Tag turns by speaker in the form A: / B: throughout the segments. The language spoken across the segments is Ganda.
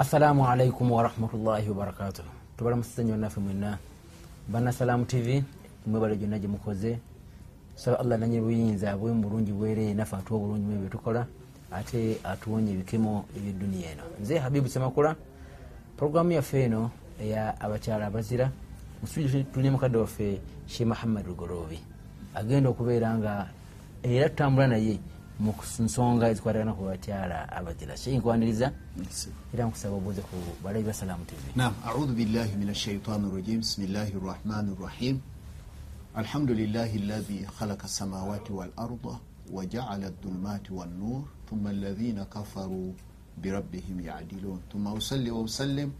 A: assalamu alaikum warahmatullahi wabarakatuh tubalamusise nyo naffe mwenna bana salaamu tv mwebale gyonna gye mukoze saba allah nanye buyinza abwe mubulungi bwereere naffe atuwa obulungi mu bye tukola ate atuwonya ebikemo ebyeduniya eno nze habibu semakula puroguramu yaffe eno eya abakyala abazira musitudio tulina mukadde waffe she muhammad lugoroobi agenda okubeera nga era tutambula naye mu nsonga ezikwatagana ku bakyala abazira shenkwaniriza era nkusaba obuuze ku balabi ba salaamu tv
B: نعم أعوذ بالله من الشيطان الرجيم بسم الله الرحمن الرحيم الحمد لله الذي خلق السماوات والأرض وجعل الظلمات والنور ثم الذين كفروا بربهم يعدلون ثم أصلي وأسلم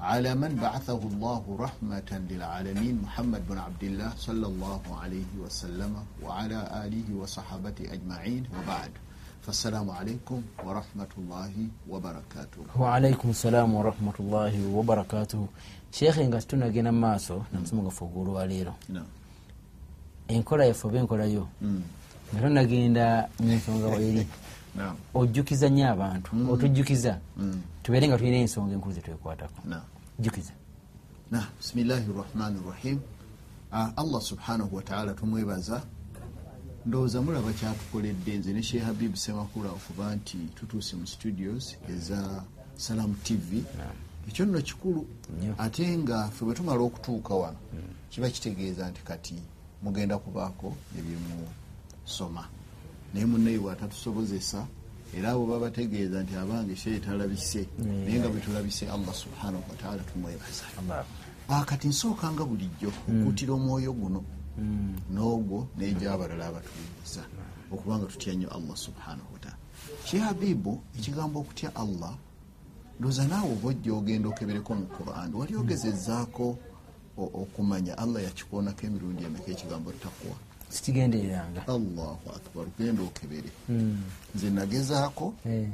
B: على من بعثه الله رحمة للعالمين محمد بن عبد الله صلى الله عليه وسلم وعلى آله وصحابته أجمعين وبعد فالسلام عليكم ورحمة الله وبركاته
A: waalaikum salaamu warahmatullahi wabarakatuhu sheekhe nga tunagenda mu maaso namusomo gaffe ogwolwaleero
B: نعم
A: enkola yaffe oba enkolayo
B: Mm.
A: nga tonagenda mu nsonga weeri
B: نعم
A: ojjukiza nnyo abantu otujjukiza
B: Mm.
A: tubeere nga tulina ensonga enkulu zetwekwatako
B: نعم
A: jjukiza
B: na bisimillahi rahmani rahim Ah, allah subhanahu wataala tumwebaza ndowooza mulaba kyatukoledde nze ne sheh habibu semakula okuba nti tutuuse mu studios eza salamu tv ekyo nno kikulu
A: Nnyo.
B: ate nga fe bwe tumala okutuuka wano kiba kitegeeza nti kati mugenda kubaako ebyemusoma naye muneiwe atatusobozesa era abo babategeeza nti abange shee talabise naye nga bwe tulabise allah subhanahu wataala tumwebaza Ah, kati nsooka nga bulijjo okuutira omwoyo guno n'ogwo n'egyabalala abatuwuliza okubanga tutya nnyo allah subhanahu wataala kye habibu ekigambo okutya allah ndooza naawe oba ojja ogenda okebereko mu quran wali ogezezzaako o- okumanya allah yakikoonako emirundi emeka ekigambo takwa
A: sikigendereranga
B: allahu akbar genda okebere nze nagezaako
A: Eh.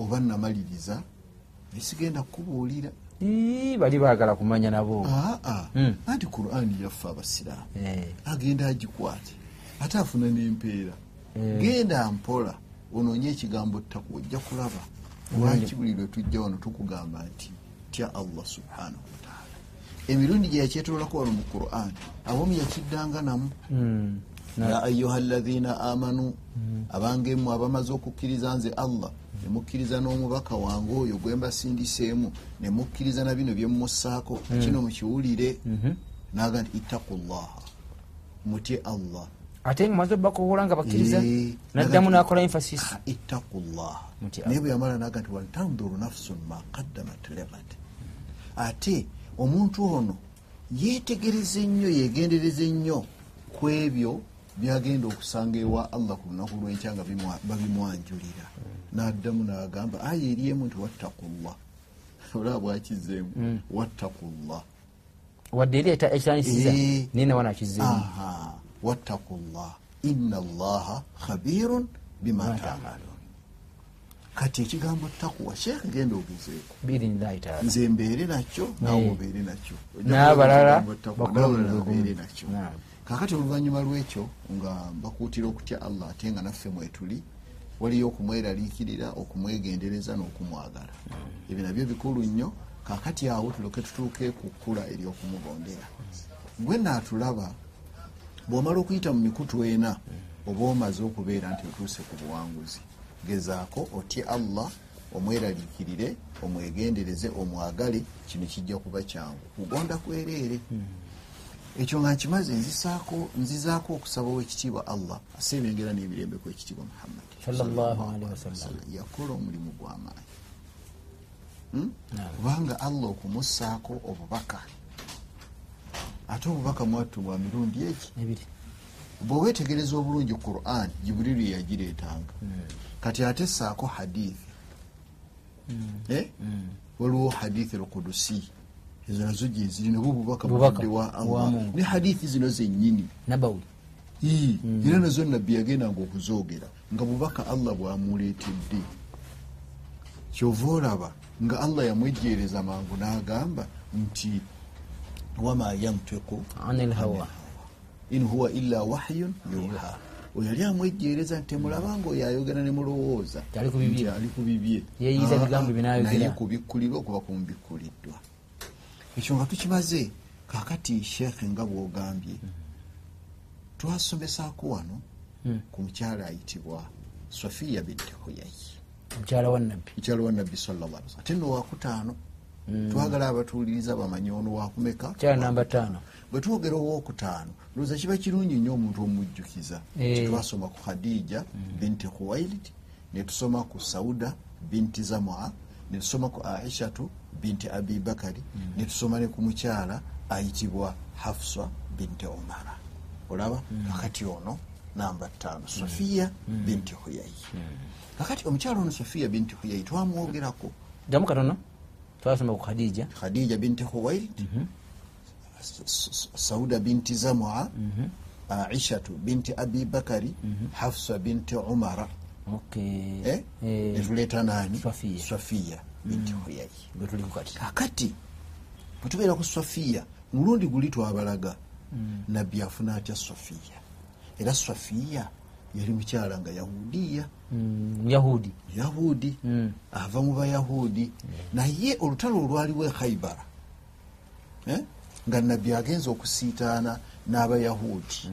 B: oba namaliriza naye sigenda kukubuulira
A: Ii, bali baagala kumanya nabo
B: aa
A: Mm.
B: anti qurani yaffe abasiraamu
A: Eh,
B: agenda agikwate ate afuna n'empeera
A: Mm.
B: genda mpola onoonye ekigambo ttaku ojja kulaba lwaki buli lwe tujja wano tukugamba nti tya allah subhanahu wataala emirundi gye yakyetololako wano mu quran awamu yakiddanga namu
A: mm,
B: ya ayuha lazina amanu abange mmwe abamaze okukkiriza nze allah nemukkiriza n'omubaka wange oyo gwe mbasindiseemu nemukkiriza na bino byemumussaako kino mukiwulire naga nti ittakullaha mutye allah
A: ate nga maze bakowola nga bakkiriza
B: Eh,
A: naddamu
B: nagati-
A: nakola emphasis
B: Ah, ittakullaha
A: Mutye
B: naye bwe yamala naga nti waltanduru nafsun ma kaddamat lebat ate omuntu ono yeetegereze ennyo yeegendereze ennyo ku ebyo byagenda okusanga ewa allah ku lunaku lwenkya nga bimwa- babimwanjulira n'addamu n'agamba aya eri emu nti wattakullah olaba bwakizeemu wattakullah
A: wadde eri eta- ekyanisiza
B: Eh.
A: naye nawa nakizeemu
B: Aha, wattakullah inna allaha khabirun bima tamalun kati ekigambo takuwa sheekh genda ogezeeko
A: biidinillahi taala
B: nze mbeere nakyo
A: Eh.
B: naawe obeere nakyo Ojja
A: N'abalala
B: kulaba ekigambo takuwa,
A: bakole
B: n'abalala
A: omulimu gumu.
B: babeere nakyo
A: Naam.
B: kakati oluvannyuma lwekyo nga bakuutira okutya allah ate nga naffe mwetuli waliyo okumweraliikirira okumwegendereza n'okumwagala ebyo nabyo bikulu nnyo kakati awo tulyoke tutuuke ku kkula ery'okumugondera gwe naatulaba bw'omala okuyita mu mikutu ena oba omaze okubeera nti otuuse ku buwanguzi gezaako otye allah omweraliikirire omwegendereze omwagale kino kijja kuba kyangu kugonda kwereere ekyo nga nkimaze nzisaako nzizaako okusaba owekitiibwa allah aseebengera n'emirembe kwekitiibwa muhammadi
A: Sallallahu alaihi wasallam.
B: yakola omulimu gw'amaanyi Mm? kubanga allah okumussaako obubaka ate obubaka mwattu bwa mirundi egi
A: ebiri
B: bwewetegereza obulungi quran jibuliri yagireetanga kati ate saako hadithi Eh? waliwo hadithi alkudusi ezo nazo gyezirina bwe bubaka
A: Bubaka
B: buvudde wa
A: wa
B: allah
A: Mungu.
B: ne hadithi zino zennyini
A: nabawi
B: Ii, era nazo nabbi yagendanga okuzoogera nga bubaka allah bwamuleetedde kyova olaba nga allah yamwejjereza mangu n'agamba nti wama yamteku
A: an elhawa
B: in huwa illa wahyun yuha oyo yali amwejjeereza nti temulaba ngaoyo ayogera ne mulowooza
A: Tali ku bibye.
B: nti ali ku bibye Ah,
A: Yeeyiza ebigambo bye n'ayogera.
B: naye kubikkulirwa okuba kumubikkuliddwa ekyo nga tukimaze kaakati sheekhe nga bwogambye twasomesaako wano
A: Hmm.
B: ku mukyala ayitibwa sofiya binti huyayi
A: mukyala wa nabbi
B: mukyala wa nabbi sallallahu alaihi wasallam. ate nno wakutaano twagala abatuwuliriza bamanye ono wakumeka
A: mukyala Hmm. namba taano
B: bwe twogera owokutaano lowooza kiba kirungi nnyo omuntu omujjukiza
A: Eh.
B: titwasoma ku khadija binti khuwailid netusoma ku sauda binti zamua netusoma ku aishatu binti abi bakari netusoma ne ku mukyala ayitibwa hafsa binti omara olaba kakati ono namba ttaano sofiya binti huyayi kakati omukyala ono sofiya binti huyayi twamwogerako
A: ddamu katono twasoma ku khadija
B: khadija binti khuwailid S- S- sauda binti zamua aishatu binti abi bakari hafsa binti umara
A: Okay.
B: eh?
A: Eh,
B: netuleeta nani
A: Swafiya.
B: swafiya binti huyayi
A: gwe tuliko kati
B: kakati bwetubeera ku swafiya mulundi guli twabalaga nabbi afuna atya swafiya era swafiya yali mukyala nga yahudiya
A: Mm, muyahudi
B: yahudi ava mu bayahudi naye olutalo olwaliwo e khaibara eh, nga nabbi agenza okusiitaana n'abayahudi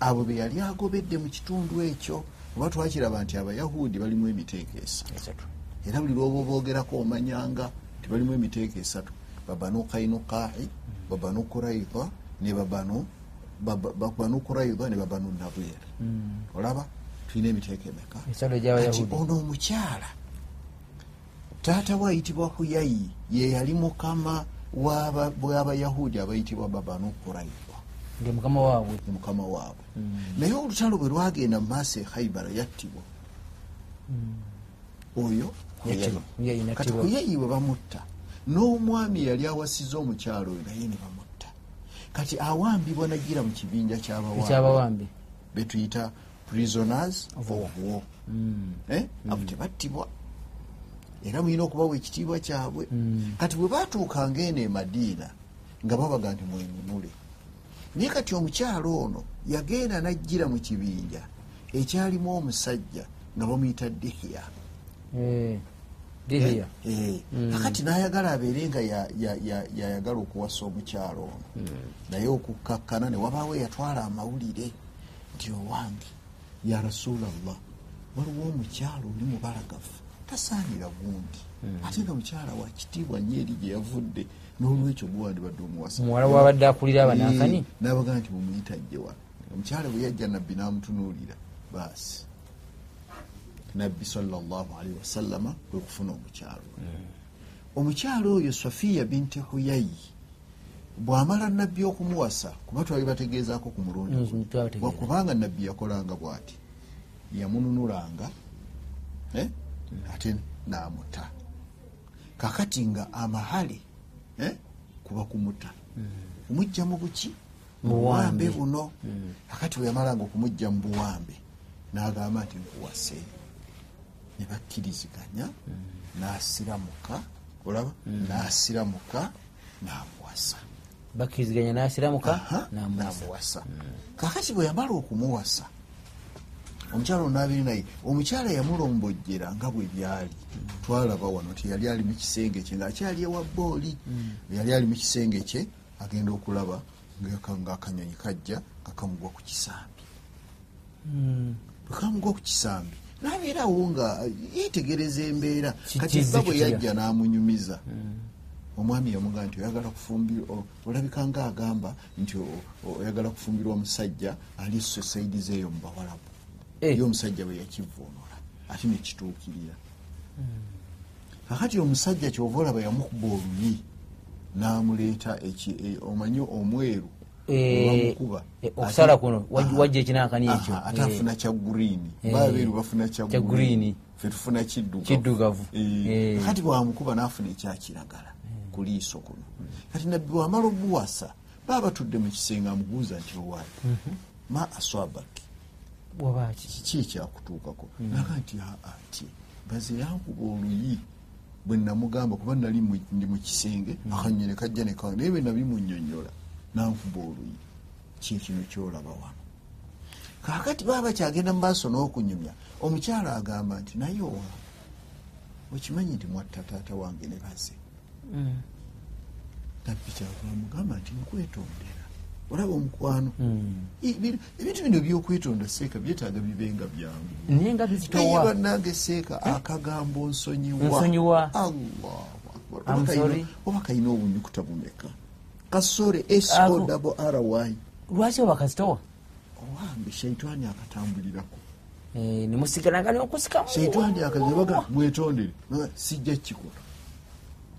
B: abo be yali agobedde mu kitundu ekyo oba twakiraba nti abayahudi balimu emiteeko esatu
A: esatu
B: era buli lwoba oboogerako omanyanga tibalimu emiteeko esatu babanu kainukai babanu kuraida ne babanu baba- babanu kuraida ne babanu nabwera olaba tulina emiteeko emeka
A: esatu
B: kati
A: egy'abayahudi
B: ono omukyala taata we ayitibwa huyayi ye yali mukama w'aba- w'abayahudi abayitibwa babanu kuraidwa
A: nge mukama waabwe
B: ye mukama waabwe
A: Mm.
B: naye olutalo bwe lwagenda mu maaso e haibara yattibwa oyo Huyayi.
A: Mm. Yattibwa. Huyayi n'attibwa.
B: kati huyayi bwe bamutta n'omwami yali awasiza omukyalo oyo naye ne bamutta kati awambibwa nagira mu kibinja ky'abawambi
A: ekyabawambi
B: betuyita prisoners of war Eh? abo tebattibwa era mulina okubawa ekitiibwa kyabwe kati bwe baatuukanga eno emadiina nga babaga nti mwenunule naye kati omukyalo ono yagenda n'ajjira mu kibinja ekyalimu omusajja nga bamuyita dihiya
A: Eh, dihiya
B: Eh, kakati n'ayagala abeere nga ya- ya- ya- yayagala okuwasa omukyalo ono naye okukkakkana ne wabaawo eyatwala amawulire nti owange ya rasulallah waliwo omukyalo oli mubalagavu tasaanira gundi ate nga mukyala wa kitiibwa nnyo eri gye yavudde n'olwekyo guwandibadde omuwasa
A: muwala wabadde akulira abanankani
B: Eh, n'abagaa nti mumuyita jje wano omukyala bwe yajja nabbi n'amutunuulira baasi nabbi salaalii wasallama kwe kufuna omukyalo oyo
A: Hmm.
B: omukyalo oyo safiya binti huyayi bw'amala nabbi okumuwasa kuba twali bategeezaako ku mulundi
A: Mm,
B: guno.
A: twabategeeza.
B: wakubanga nabbi yakolanga bw'ati yamununulanga eh, ate n'amuta kakati nga amahale eh, kuba kumuta omujja mu buki
A: Mu buwambe.
B: buwambe buno kakati bwe yamalanga okumujja mu buwambe n'agamba nti nkuwase ne bakkiriziganya n'asiramuka olaba n'asiramuka n'amuwasa
A: bakkiriziganya n'asiramuka
B: Aha,
A: namuwasa
B: n'amuwasa kakati bwe yamala okumuwasa omukyala onaabeere naye omukyala yamulombojjera nga bwe byali twalaba wano teyali ali mu kisenge kye ng'akyali ewa booli yali ali mu kisenge kye agenda okulaba ng'aka- ng'akanyonyi kajja nga kamugwa ku kisambi bwe kamugwa ku kisambi n'abeera awo nga yeetegereza embeera
A: Ki-
B: kati
A: kizzi
B: bba bwe
A: kitya?
B: yajja n'amunyumiza
A: Hmm.
B: omwami yamugaa nti oyagala kufumbirwa olabika nga agamba nti o- o- oyagala kufumbirwa omusajja ali sosaidi zeeyo mu bawalabu
A: Eh.
B: ye omusajja bwe yakivuunula ate nekituukirira
A: Hmm.
B: kakati omusajja kyova olaba yamukuba olunyi n'amuleeta eki- e- omanyi omweru
A: Eh,
B: webamukuba
A: eh, okusala
B: ate-
A: kuno waj-
B: Aha.
A: wajja ekinankani
B: Aha,
A: ekyo
B: ate
A: Eh,
B: afuna kya gurini
A: Eh.
B: babeeru bafuna
A: Kya
B: kya
A: guliini.
B: gurini fe tufuna kiddugavu
A: Kiddugavu.
B: Eh,
A: Eh.
B: kati bwamukuba n'afuna ekyakiragala ku liiso kuno kati nabbi wamala obuwasa baba batudde mu kisenge amubuuza nti owaayi
A: Mhm.
B: ma aswabaki
A: wabaki
B: kiki ekyakutuukako naga nti aa ti baze yankuba oluyi bwe namugamba kuba nali mu- ndi mu kisenge akanyonyi ne kajja ne kanga naye bwe nabimunnyonnyola nankuba oluyi kyekino kyolaba wano kakati baba kyagenda mu maaso n'okunyumya omukyala agamba nti naye owa okimanyi nti mwatta taata wange ne baze nabbi kyagula mugamba nti nkwetondera olaba omukwano
A: Mm.
B: I- bino- ebintu bino byokwetonda seeka byetaaga bibenga byangu
A: naye nga
B: naye
A: bizitowa
B: bannange seeka akagambo nsonyiwa
A: Eh? Nsonyiwa.
B: allahu akbar
A: I'm
B: Oba kayina-
A: sorry.
B: oba kalina obunyukuta bumeka kasore
A: Ako-
B: sryi
A: lwaki oba kazitowa
B: owange shaitani akatambulirako
A: Eh, nemusigalanga nokusikamu
B: shaitani akazebaga mwetondere Nga, sijja kikola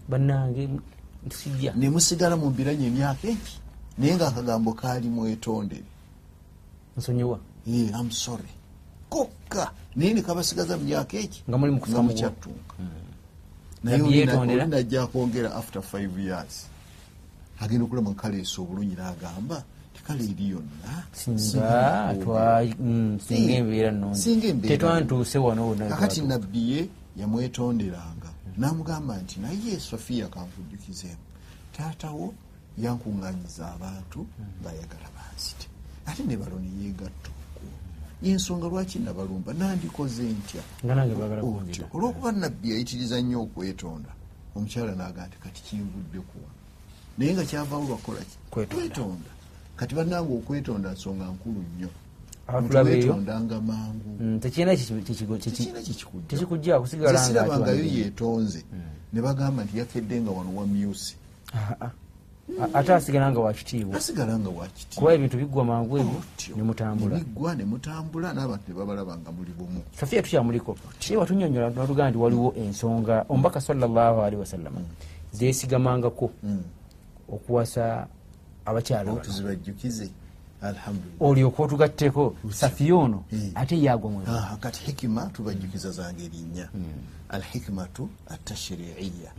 A: bannange sijja
B: nemusigala mu mbiranye emyaka egi naye ngaakagambo kaali mwetondere
A: nsonyiwa
B: Eh, I'm sorry kokka naye nekabasigaza mu myaka eki
A: Nga muli mu kufa mu bwo.
B: mukyatunka naye
A: Nabbi yeetondera.
B: olina ajja akwongera after five years agenda okulaba nkaleesa obulungi n'agamba tikale eri yonna
A: singa twa- mm, singa
B: Eh,
A: embeera
B: singa
A: nungi
B: embeera
A: tetwantuuse wano wonna
B: kakati
A: wetwatuuka.
B: nabbi ye yamwetonderanga n'amugamba nti naye sofiya kankujukizeemu taatawo yankuŋŋanyiza abantu ng'ayagala banzite ate ne balo neyeegatta okwo yensonga lwaki nabalumba nandikoze ntya
A: nga nange bagala kunzita
B: otyo olw'okuba nabbi yayitiriza nnyo okwetonda omukyala n'agaa nti kati kinvuddeku naye nga kyavaawo lwakukola ki
A: Kwetonda.
B: kwetonda kati bannange okwetonda nsonga nkulu nnyo
A: abatulaba eyo
B: Teweetondanga mangu
A: mm, tekirina kiki- kiki- kiki-
B: tekirina kikikujja
A: tekikujja kusigala nga
B: zesirabangayo
A: ati-
B: yeetonze ne bagamba nti yakedde nga wano wa myusi
A: Ah, ah. A- ate asigala nga wakitiibwa
B: tasigala nga wakiti
A: kuba ebintu biggwa mangu ebyo
B: Otyo.
A: nemutambula
B: Nebiggwa nemutambula n'abantu ne babalaba nga muli bumu
A: safiya tukyamuliko naye watunyonyola notugamba nti waliwo ensonga omubaka salllahalihi wasallama zesigamangako
B: Hmm.
A: okuwasa abakyala bano
B: tuzibajjukize alhamdulillah
A: olyoka otugatteko safiya ono ate yagwa mwe
B: Ah, kati hikima tubajjukiza zangeri nnya alhikimatu atashriiya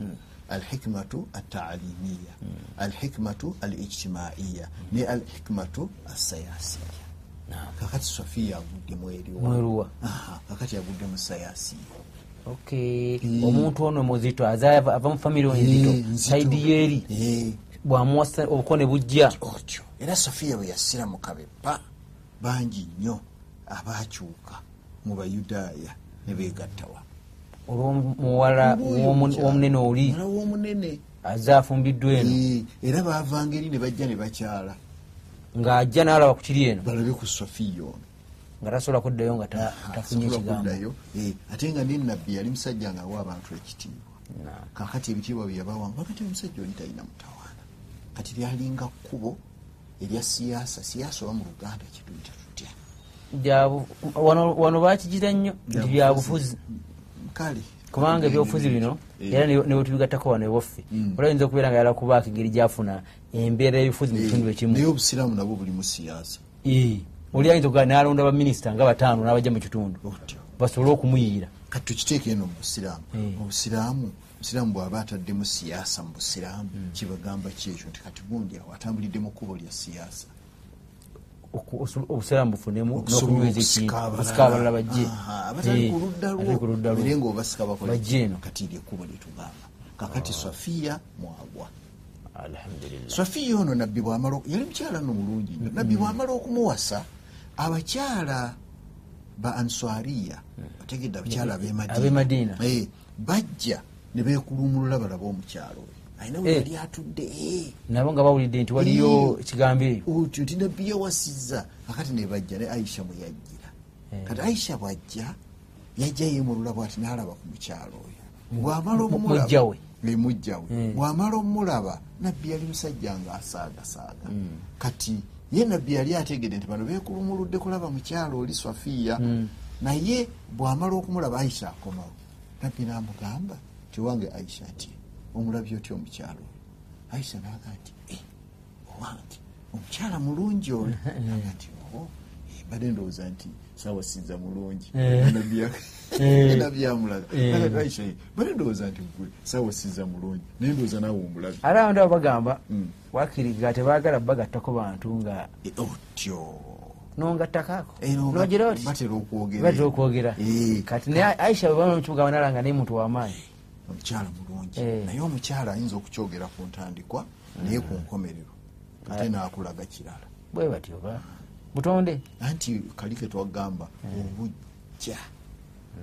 B: alhikimatu ataalimiya alhikimatu alijtimaiya ne alhikimatu asayasiya kakati safiya aguddemu eriwa
A: mweruwa
B: Aha, kakati agudde mu sayasiya
A: okay
B: Mm.
A: omuntu ono muzito aza ava ava mu famire
B: Hmm,
A: enzito saidi yeeri bwamuwasa obuko ne bujja
B: otyo Eh, era safiya bwe yasira mu kabeppa bangi nnyo abakyuka mu bayudaaya ne beegattawa
A: olw'omuwala
B: Hmm.
A: w'omu- w'omunene oli
B: Muwala w'omunene
A: aza afumbiddwa eno
B: Eh, era baavanga eri ne bajja ne bakyala
A: ng'ajja n'alaba ku kiri eno
B: balabe ku safiya ono
A: nga tasobola kuddayo nga ta-
B: Ah,
A: tafunye
B: Asobola
A: ekigambo
B: okuddayo. Eh, ate nga nenabbi yali musajja ngaawa abantu ekitiibwa
A: Naam.
B: kakati ebitiibwa bye yabawanga bakati omusajja oli talina mutawaana kati lyalinga kkubo erya siyaasa siyaasa oba mu luganda kituyita tutya
A: Byabu- wano wano bakigira nnyo nti byabufuzi
B: kale
A: kubanga ebyobufuzi bino era ne ne bwe tubigattako wano ewaffe
B: Mm.
A: ola yinza okubeera nga yala kubaako engeri gyafuna embeera y'ebifuzi mu kitundu ekimu
B: naye obusiraamu nabwo buli mu siyaasa
A: Eh, oli ayinza okugaa n'alonda baminisita nga bataano n'abajja mu kitundu
B: otyo
A: basobole okumuyiira
B: kati tukiteeka eno mu busiraamu
A: Mm.
B: obusiraamu obusiraamu bw'aba ataddemu siyaasa mu busiraamu
A: Hmm.
B: kibagamba kyekyo nti kati gundi awo atambulidde mu kkubo lya siyaasa
A: oku- osu- obusiraamu bufunemu
B: okusobola
A: n'okunyeza ekintu okusika abalala bajje
B: abatali
A: Eh,
B: ku ludda
A: abatali ku ludda lwo.
B: lwobere ngaobasika bakola
A: Bajje eno. Ah.
B: kati lyekkubo lyetugamba kakati safiya mwagwa
A: Alhamdulillah. Mm-hmm.
B: safiya ono nabbi bwamala oku- yali mukyala no mulungi nyo nabbi bwamala okumuwasa abakyala ba answariya bategedde abakyala
A: Mm. Ab'e Madiina.
B: abemadiina bajja ne beekulumulula balaba omukyalo oyo alina we
A: Eh.
B: yali atudde eh.
A: nabo nga bawulidde nti waliyo
B: Mm.
A: ekigambo eyo
B: otyo nti nabbi yawasizza akati ne bajja ne aisha mwe yajjira kati aisha bwajja yajja yeemulula bwati n'alaba ku mukyalo oyo bwamala omumulaba-
A: mujjawe.
B: Eh, mujjawe
A: Mm.
B: bw'amala omulaba nabbi yali musajja ng'asaagasaaga kati ye nabbi yali ategedde nti bano beekulumuludde kulaba mukyalo oli swafiya naye bw'amala okumulaba aisha akomawo nabbi n'amugamba tiwange aisha nti omulabye otya omukyalo oyo aisha n'agaa nti "Eh, owange omukyala mulungi oli
A: eh.
B: Naga nti oo eh, mbadde ndowooza nti saawasinza mulungi
A: Eh.
B: Nabbi yak-
A: Eh.
B: Nabbi yamulaga
A: Eh.
B: Naga- Aisha ye, mbadde ndowooza nti gwe saawasinza mulungi naye ndowooza naawe omulabi
A: ate abantu abo bagamba
B: Mm.
A: wakiriga tebaagala bagattako bantu nga
B: Eh, otyo
A: nongattakaako
B: Era oba-
A: nogera oti
B: batera okwogera
A: batera okwogera
B: Eh,
A: kati naye aisha bwebanokimugamba nalanga naye muntu wamaanyi
B: omukyala mulungi
A: Eh.
B: naye omukyala ayinza okukyogera
A: Eh.
B: ku ntandikwa naye ku nkomerero ate naakulaga kirala
A: bwe batyo ba butonde
B: anti kali ketwagamba obujja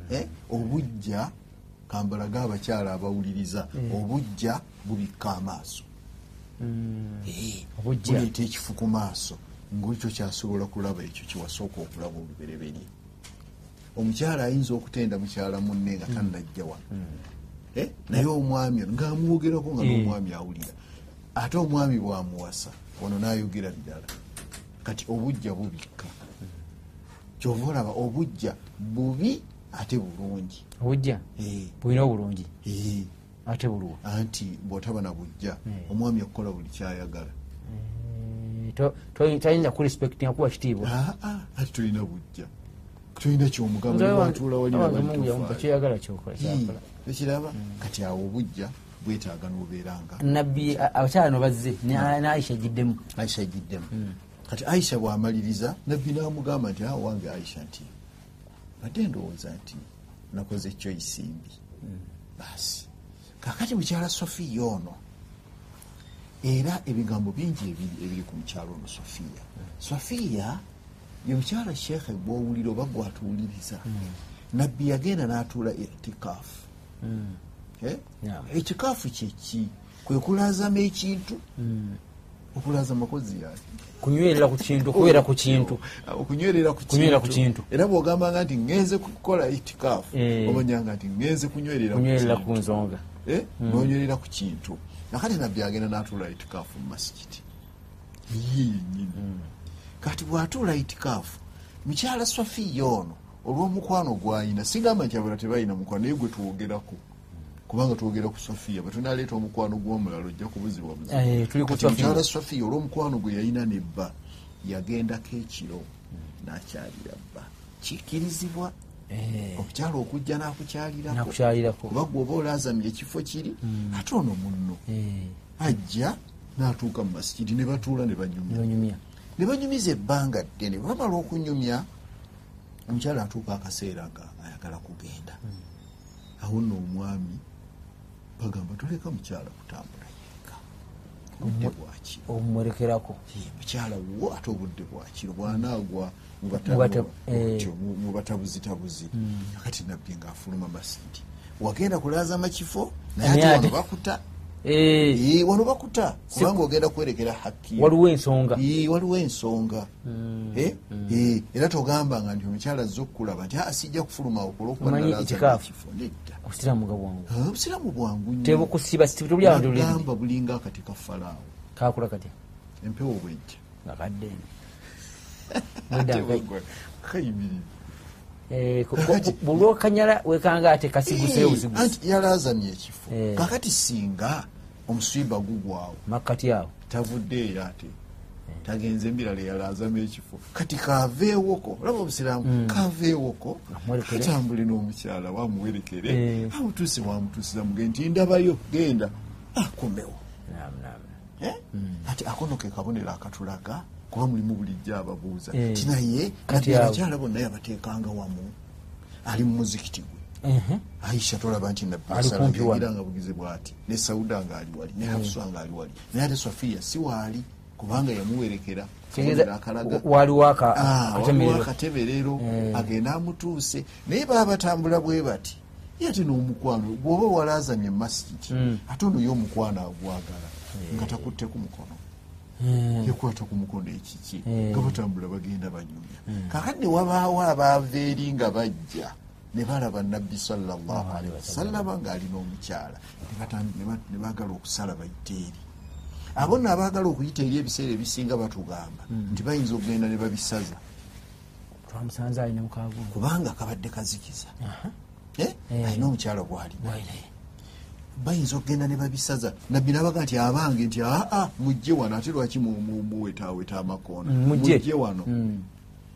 B: Eh, obujja kambalage abakyala abawuliriza obujja bubikka amaaso
A: Hmm.
B: Eh,
A: Obujja.
B: buleeta ekifu ku maaso ngaolikyo kyasobola kulaba ekyo kyewasooka okulaba olubereberye omukyala ayinza okutenda mukyala munne nga tannajja wano Eh, naye omwami ono ngaamwogerako nga n'omwami awulira ate omwami bwamuwasa ono n'ayogera birala kati obujja bubikka kyova olaba obujja bubi ate bulungi
A: obujja
B: Eh,
A: bulina obulungi
B: eh,
A: ate bulwo
B: anti bw'otaba na bujja
A: Mm.
B: omwami okukola buli kyayagala
A: Eh, to- to- tayinza kurespectinga kuwa kitiibwa
B: aa ati tolina bujja tolina kyomugamba
A: Nze
B: niwatuula wali
A: wange- wange mungu yamumpa kyoyagala kyokola
B: Hmm.
A: kyakola
B: ekiraba kati awo obujja bwetaaga n'obeeranga
A: nabbi a- abakyala no bazze ne- naayisha egiddemu
B: aisha egiddemu kati aisha bw'amaliriza nabbi n'amugamba nti awo wange aisha nti badde ndowooza nti nakoze choice mbi baasi kakati mukyala sofiya ono era ebigambo bingi ebi- ebiri ku mukyalo ono sofiya sofiya ye mukyala sheekhe gwowulira oba gwatuwuliriza nabbi yagenda n'atuula itikaafu Eh?
A: Yeah.
B: ekikaafu kyeki kwe kulazama ekintu
A: Hmm.
B: okulazamu makozi yaki
A: kunywerera ku kintu kubeera ku kintu
B: okunywerera ku
A: Kunywerera ku kintu.
B: kintu. era bwogambanga nti ngenze kukola itikaafu
A: Eh.
B: omanyanga nti ngenze kunywerera ku
A: kunywerera ku
B: kintu.
A: nsonga
B: Eh,
A: Hmm.
B: nonywerera ku kintu nakati nabbi agenda n'atuula itikaafu mu masikiti ye
A: Hmm.
B: yenyini kati bw'atuula itikaafu mukyala sofiya ono olw'omukwano gw'ayina sigamba nti abala tebalina mukwano naye gwe twogerako
A: Hmm.
B: kubanga twogera ku sofiya bwe tunaleeta omukwano gw'omulala ojja kubuzibwa buzibu.
A: Eh, tuli ku
B: Kati
A: Sofiya.
B: mukyala sofiya olw'omukwano gwe yalina ne bba yagendako ekiro
A: Hmm.
B: n'akyalira bba kikirizibwa
A: Eh.
B: omukyala okujja n'akukyalirako
A: nakukyalirako
B: kuba gweoba olazamya ekifo kiri ate ono munno
A: Eh,
B: ajja n'atuuka mu masikiti ne batuula ne banyumya
A: nonyumya
B: ne banyumiza ebbanga ddene bwe bamala okunyumya omukyala atuuka akaseera nga ayagala kugenda awo nno omwami bagamba toleka mukyala kutambula yenka obudde bwakiro
A: omumulekerako
B: Ye, mukyala wo ate obudde bwakiro bwanaagwa
A: Mubata- eh.
B: mubatabuzitabuzi kati nabbi ngaafuluma masidi wagenda kulazama kifo
A: Naye
B: naye ate
A: ate-
B: wano bakuta
A: Eh,
B: Ee, wano bakuta kubanga ogenda kwerekera haki
A: waliwo ensonga
B: Ee, waliwo ensonga Eh, eh, era togambanga nti omukyala azze okukulaba nti "Ah, sijja kufuluma
A: Omanyi itikaafu.
B: okulwaekifo nedda
A: obusiraamu nga bwangu
B: Ah, obusiraamu bwangu nnyo
A: tebukusiba tebulyabantu
B: nagamba bulinga akati ka falaawo
A: kakula katya
B: empewo bwejja
A: nga kaddeene
B: ate bagwa kayimirira
A: Eh,
B: Kakati-
A: bulwokanyala wekanga ate kasiguse
B: Ee,
A: busiguse
B: anti yalazamya ekifo
A: Eh.
B: kakati singa omuswiba gugwawo
A: makkati awo
B: tavudde era ate
A: Eh.
B: tagenze mbirala yalazamu ekifo kati kaaveewoko olaba
A: Hmm.
B: obusiraamu kaaveewoko
A: Amuwerekere.
B: katambule n'omukyala wamuwerekere
A: Eh.
B: amutuuse wamutuusiza muge nti ndabayo genda akomewo
A: Naam, naam.
B: Eh?
A: Hmm.
B: ati akono ke kabonero akatulaga kuba mulimu bulijjo ababuuza
A: Eh.
B: ti naye
A: Kati
B: nabbi
A: awo.
B: abakyala bonna yabateekanga wamu ali mu muzikiti gwe
A: Ehe.
B: aisha tolaba nti nabbi
A: Ali
B: yasala
A: kumpi wano.
B: yagira nga bugize bwati ne sauda ngaali wali ne hafsa ngaali wali naye ate sofiya si waali kubanga yamuwerekera Kabonero
A: Tegeeza
B: akalaga
A: waliwo aka-
B: Ah, waliwo
A: akatemerero
B: akateberero
A: Eh.
B: agenda amutuuse naye baba batambula bwe bati ye ate n'omukwano bw'oba walazamye emasijidi ate ono ye omukwano agwagala nga takutte ku mukono
A: Eh,
B: yakwata ku mukono ekiki
A: Eh. Mm.
B: nga batambula bagenda banyumya kakati ne wabaawo abaava eri nga bajja ne balaba nabbi salllahualihi wasallama ng'alina omukyala ne batam- ne ba- ne baagala okusala bayite eri abo
A: Mm.
B: nno abaagala okuyita eri ebiseera ebisinga batugamba nti bayinza okugenda ne babisaza
A: twamusanze alina mukaaga
B: kubanga kabadde kazikiza Eh?
A: Eh.
B: alina omukyala gwalina
A: waire
B: bayinza okugenda ne babisaza nabbi nabaga nti abange nti aa mujje wano ate lwaki mu- mu- muwetaaweta amakoona
A: Mm, mujje. Mm.
B: wano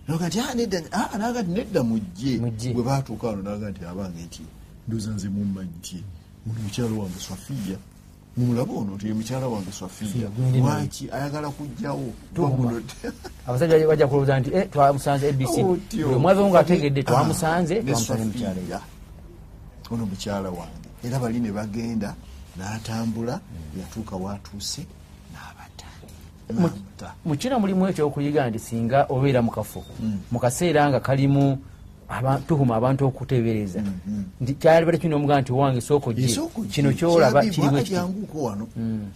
B: naga nti "Ah, nedda ah, naga nti nedda mujje
A: Mujje.
B: bwe baatuuka wano naga nti abange nti ndooza nze mummanyi nti ono mukyala wange swafiya mumulaba ono nti ye mukyala wange swafiya
A: gwendi naye.
B: lwaki ayagala kujjawo
A: Tuguma.
B: Waguno-
A: abasajja bajja kulowooza nti "Eh, twamusanze abc
B: Otyo.
A: bwe mwaveo ngaategedde
B: Ah,
A: twamusanze
B: ne
A: twamusanze mukyala
B: Sofiya. ono mukyala wange era bali ne bagenda n'atambula yatuuka waatuuse n'abata
A: mu-
B: Nanta.
A: mukino mulimu ekyokuyiga nti singa obeera mu kafo
B: Mm.
A: mu kaseera nga kalimu aba- tuhuma abantu okuteebereza nti kyalibera kino omugaa nti wange sooka ojje
B: Mm, Esooka
A: kino
B: ogye.
A: kyolaba
B: Kyagamba,
A: kirimu
B: "Ah,
A: ekiki."
B: janguko wano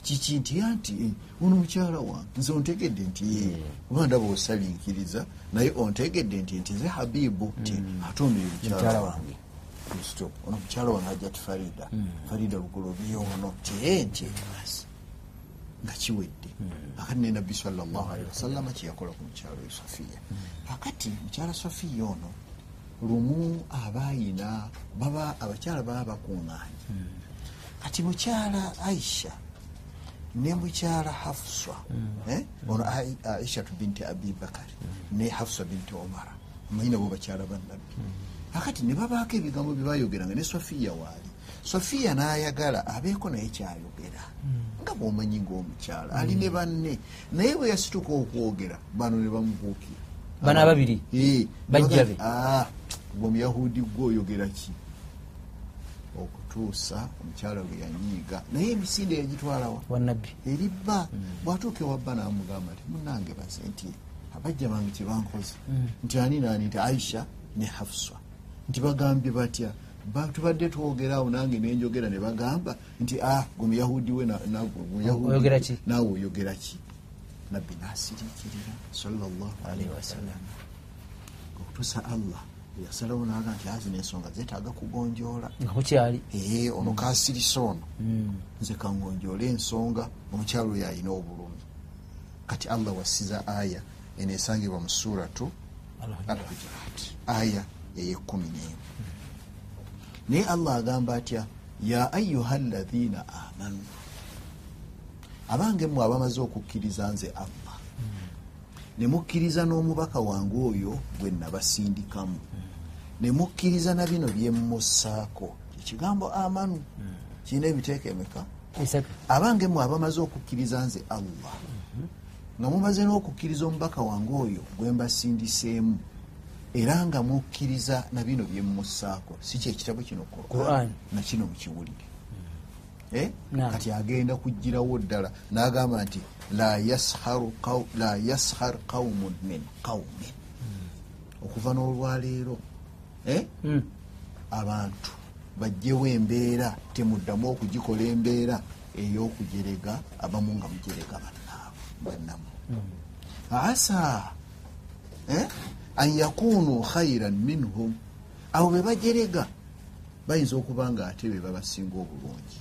B: kiki nti "Ah, nti eh, ono mukyala wange nze ontegedde nti ye kuba ndaba osalinkiriza naye ontegedde nti nti nze habibu ti ate ono ye mukyala
A: Mukyala
B: wange kristo ono mukyala wange ajja ti farida farida lugolobi ono tie nti basi nga kiwedde akati ne nabbi salllahalihi wasallama kyeyakola ku mukyalo we safiya akati mukyala safiya ono lumu abaayina baba abakyala baba bakuŋŋaanye kati mukyala aisha ne mukyala hafsa eh, ono Ai- aishatu binti abibakari ne hafsa binti omara muyinabo bakyala bannabbi akati ne babaako ebigambo byebayogeranga ne safiya waali safiya n'ayagala abeeko naye kyayogera nga bwomanyi ngaomukyala ali ne banne naye bwe yasituka okwogera bano ne bamubuukira
A: Bano ababiri?
B: Eh,
A: Bajja
B: baga-
A: be?
B: Ah, gwe muyahudi gwe oyogera ki okutuusa omukyala lwe yanyiiga naye emisinde yagitwalawa
A: wannabbi
B: eri bba
A: Hmm.
B: bwatuuka ewabba n'amugamba nti munange baze nti abajja bange kyebankoze
A: Mm.
B: nti ani naani nti aisha ne hafsa nti bagambye batya Ba- tubadde twogera awo nange nenjogera ne bagamba nti ah gwe muyahudi we na- na- gwe Muyahudi
A: Oyogera ki?
B: naawe oyogera ki nabbi nasiriikirira sawasalam okutuusa allah yasalawo naga nti azi nensonga zetaaga kugonjoola
A: nga kukyali
B: ee
A: Hmm.
B: ono kasirise ono nze kangonjoola ensonga omukyalo oyo alina obulumi kati allah wasiza aya eno esangibwa mu suratu
A: Mm.
B: alhujurat aya eyekumi nemu naye allah agamba atya ya ayuha llahina amanu abange mmwe abamaze okukkiriza nze allah ne mukkiriza n'omubaka wange oyo gwe nabasindikamu ne mukkiriza na bino bye mmussaako ekigambo amanu kirina ebiteeka emeka
A: esatu
B: abange mmwe abamaze okukkiriza nze allah nga mumaze n'okukkiriza omubaka wange oyo gwe mbasindiseemu era nga mukkiriza na bino bye mmussaako si kyekitabo kino
A: Quran. Hmm.
B: nakino mukiwulire Eh?
A: Naam.
B: kati agenda kugirawo ddala n'agamba nti la yasharu qaw- la yashar qaumun min qaumin
A: Hmm.
B: okuva n'olwaleero Eh?
A: Mm.
B: abantu bajjewo embeera temuddamu okugikola embeera ey'okujerega abamu nga mujerega bannaabwe bannamu asa eh, an yakunu khairan minhum abo be bajerega bayinza okuba nga ate be babasinga obulungi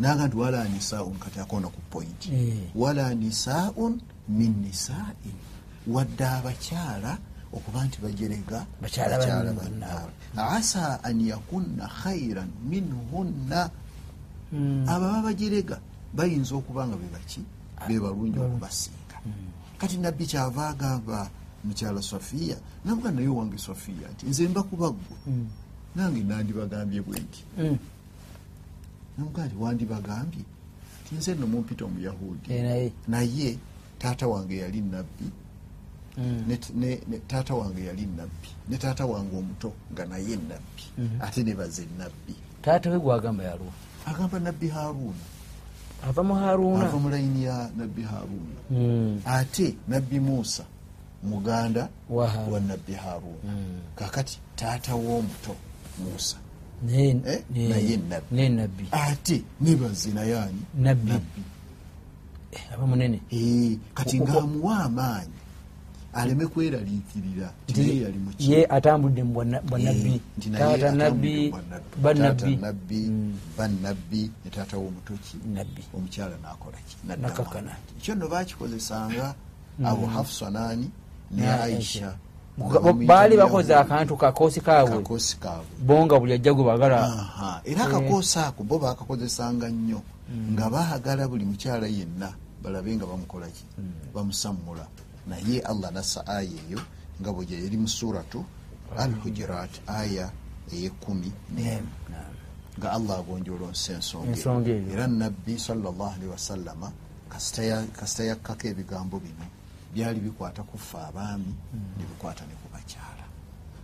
B: naga nti wala nisaun kati akona ku point
A: Eh.
B: wala nisaun min nisain wadde abakyala okuba nti bajerega
A: Bakyala banne
B: bannaabwe asa an yakunna khairan minhunna
A: Mm.
B: ababa bajerega bayinza okuba nga bebaki bebalungi okubasinga kati nabbi kyava agamba mukyala safiya namuga naye wange safiya nti nze mbakuba ggwe nange nandibagambye bwenti
A: Mm.
B: namugaa nti wandibagambye ti nze nno mumpita omuyahudi
A: Eh, naye.
B: naye taata wange yali nabbi
A: Mm.
B: ne- ne- ne- taata wange yali nabbi ne taata wange omuto nga naye nabbi ate ne baze nabbi
A: taata we gwagamba yalwa
B: agamba nabbi haruuna
A: ava mu haruuna
B: ava mu layini ya nabbi haruuna
A: Mm.
B: ate nabbi musa muganda
A: Wa Hmm. Haruuna.
B: wa nabbi haruuna kakati taata w'omuto musa
A: Naye-
B: Eh,
A: naye-
B: naye nnabbi. Ah,
A: naye nabbi
B: ate ne baze naye ani
A: Nabbi. Eh, aba munene
B: Eh, kati
A: Okwo-
B: ng'amuwa amaanyi aleme kweraliikirira
A: Nti
B: tinaye yali muki
A: ye atambudde mu bwanna- bwannabbi
B: Eh, nti naye
A: taata
B: atambudde
A: nabbi
B: mu bannabbi.
A: bannabbi
B: Taata nabbi bannabbi ne taata w'omutoki
A: Nabbi.
B: omukyala n'akolaki
A: N'akakkana.
B: ekyo nno baakikozesanga
A: Mm.
B: abo hafsa naani ne
A: Ne
B: aisha
A: Kuga- baali bakoze akantu kakoosi kaabwe
B: kakoosi kaabwe
A: bo nga buli ajja gwe bagala
B: Aha, era akakoosi ako bo baakakozesanga nnyo nga baagala buli mukyala yenna balabe nga bamukolaki bamusammula naye allah nassa aya eyo nga bwegye eri mu suratu al hujurat aya eyekumi nemu nga allah agonjoola nsi ensonga
A: Ensonga
B: eyo.
A: eyo.
B: era nabbi salllahalihi wasallama kasita yakkako ebigambo bino byali bikwata ku ffe abaami ne bikwata ne ku bakyala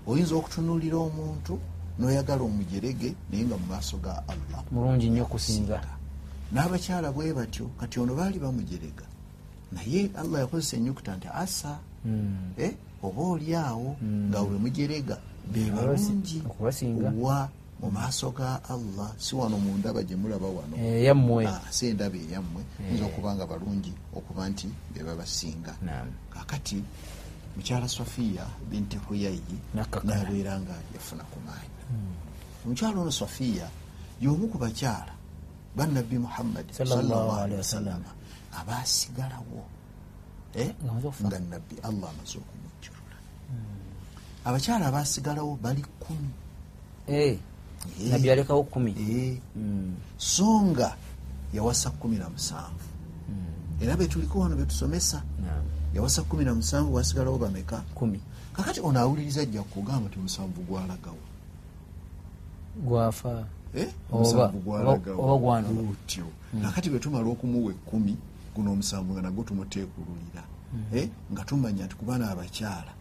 B: oyinza okutunuulira omuntu n'oyagala omujerege naye nga mu maaso ga allah
A: mulungi nnyo okusinga
B: n'abakyala bwe batyo kati ono baali bamujerega naye allah yakozesa enyukuta nti asa
A: Hmm.
B: Eh, oba oli awo nga bwe mujerega be balungi
A: okubasinga.
B: wa mu maaso ga allah si wano mundaba gye mulaba wano
A: eyammwe
B: Ah, si endaba eyammwe nza okuba nga balungi okuba nti be babasinga
A: Naam.
B: kakati mukyala safiya binti huyayi
A: Nakakala.
B: nabeera nga yafuna ku maanyi omukyala ono safiya y'omu ku bakyala bannabbi muhammadi
A: Sallallahu
B: sallallahu
A: alaihi
B: alaihi
A: wasallam.
B: wasallama abaasigalawo Eh,
A: Nga amaze okufa.
B: nga nabbi allah amaze okumujjulula abakyala abaasigalawo bali kumi
A: Eh,
B: Eh,
A: nabbi yalekawo kumi
B: eh,
A: Mm.
B: so nga yawasa kumi na musanvu era betuliko wano betusomesa
A: Hmm. Naam.
B: yawasa kumi na musanvu wasigalawo bameka
A: kumi
B: kakati ono awuliriza ajja kugamba ti musanvu gwalagawo
A: gwafa
B: Eh?
A: Oba-
B: Omusanvu
A: oba-
B: gwalagawo.
A: oba Hmm. gwanona.
B: Gutyo. kakati bwetumala okumuwa ekkumi guno omusanvu nga nagwo tumuteekululira
A: Hmm.
B: Eh? nga tumanya nti kubaana abakyala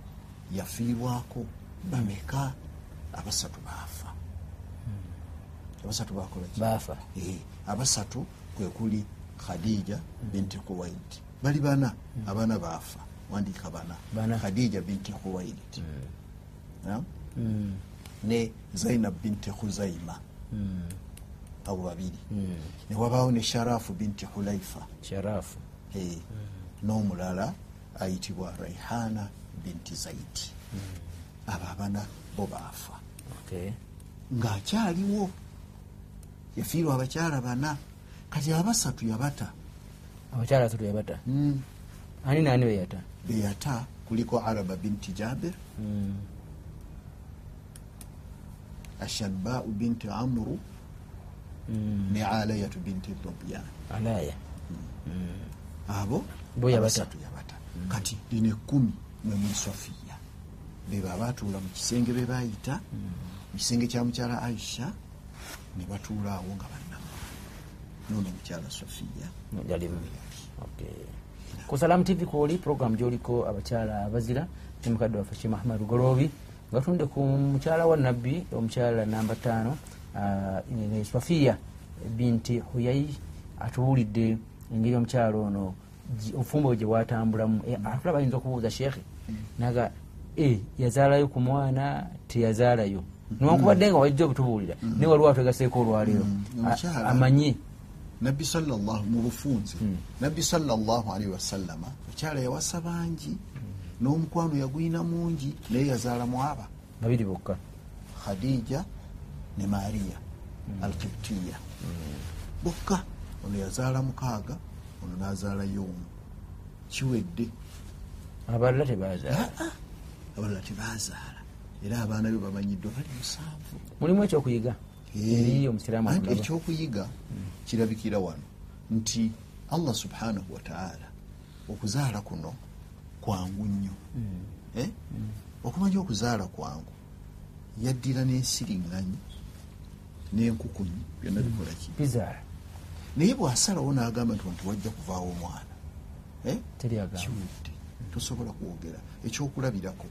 B: yafiirwako bameka abasatu baafa
A: Hmm.
B: abasatu bakolaki
A: baafa
B: Eh, abasatu kwe kuli khadija
A: Hmm.
B: binti kuwait bali bana abaana baafa wandiika bana
A: Bana. Hmm.
B: khadija binti kuwait Naam? ne zainab binti huzaima
A: Hmm.
B: abo babiri ne wabaawo ne sharafu binti hulaifa
A: sharafu
B: Eh, n'omulala ayitibwa raihana binti zaidi abo abana bo baafa
A: okay.
B: ng'akyaliwo yafiirwa abakyala bana kati abasatu yabata
A: abakyala basatu yabata
B: Mm,
A: ani naani beyata
B: beyata kuliko araba binti jabir
A: Hmm.
B: ashabbau binti amru
A: Hmm.
B: ne alayatu binti dobyan
A: alaya
B: abo
A: Bo yabata.
B: abasatu yabata kati lino ekkumi mwemuli safiya beba abatuula mu kisenge be baayita mu kisenge kya mukyala aisha ne batuula awo nga bannamaani noono mukyala safiya
A: yalimu ku salamu tv kwoli program gyoliko abakyala abazira ne mukadde waffe shima ahmad goloobi nga tunde ku mukyala wa nabbi omukyala namba taano swafiya binti huyayi atuwulidde engeri omukyala ono gi- obufumbo gye bwatambulamu E, atula bayinza okubuuza sheekhe naga e yazaalayo ku mwana teyazaalayo newankubadde nga wajja obutubuulira naye waliwo atwegaseeko olwaleero
B: Mm,
A: A-
B: omukyala.
A: amanye
B: nabbi sallallahu mu bufunze nabbi sallallahu alaihi wasallama mukyala yawasa bangi n'omukwano yagwina mungi naye yazaalamu aba
A: babiri bokka
B: khadija ne mariya alkiptiya bokka ono yazaala mukaaga ono n'azaalayo omu kiwedde
A: abalala tebazaala
B: abalala tebazaala era abaana be bamanyiddwa bali musanvu
A: mulimu ekyokuyiga eri omusiraamu
B: anti
A: amulaba
B: Eh, ekyokuyiga kirabikira wano nti allah subhanahu wataala okuzaala kuno kwangu nnyo Eh? okumanya okuzaala kwangu yaddira n'ensiriŋŋanyi n'enkukunyi byonna bikolaki
A: bizaala
B: naye bw'asalawo n'agamba nti wanti wajja kuvaawo omwana Eh?
A: teryagamba
B: kiwedde tosobola kwogera ekyokulabirako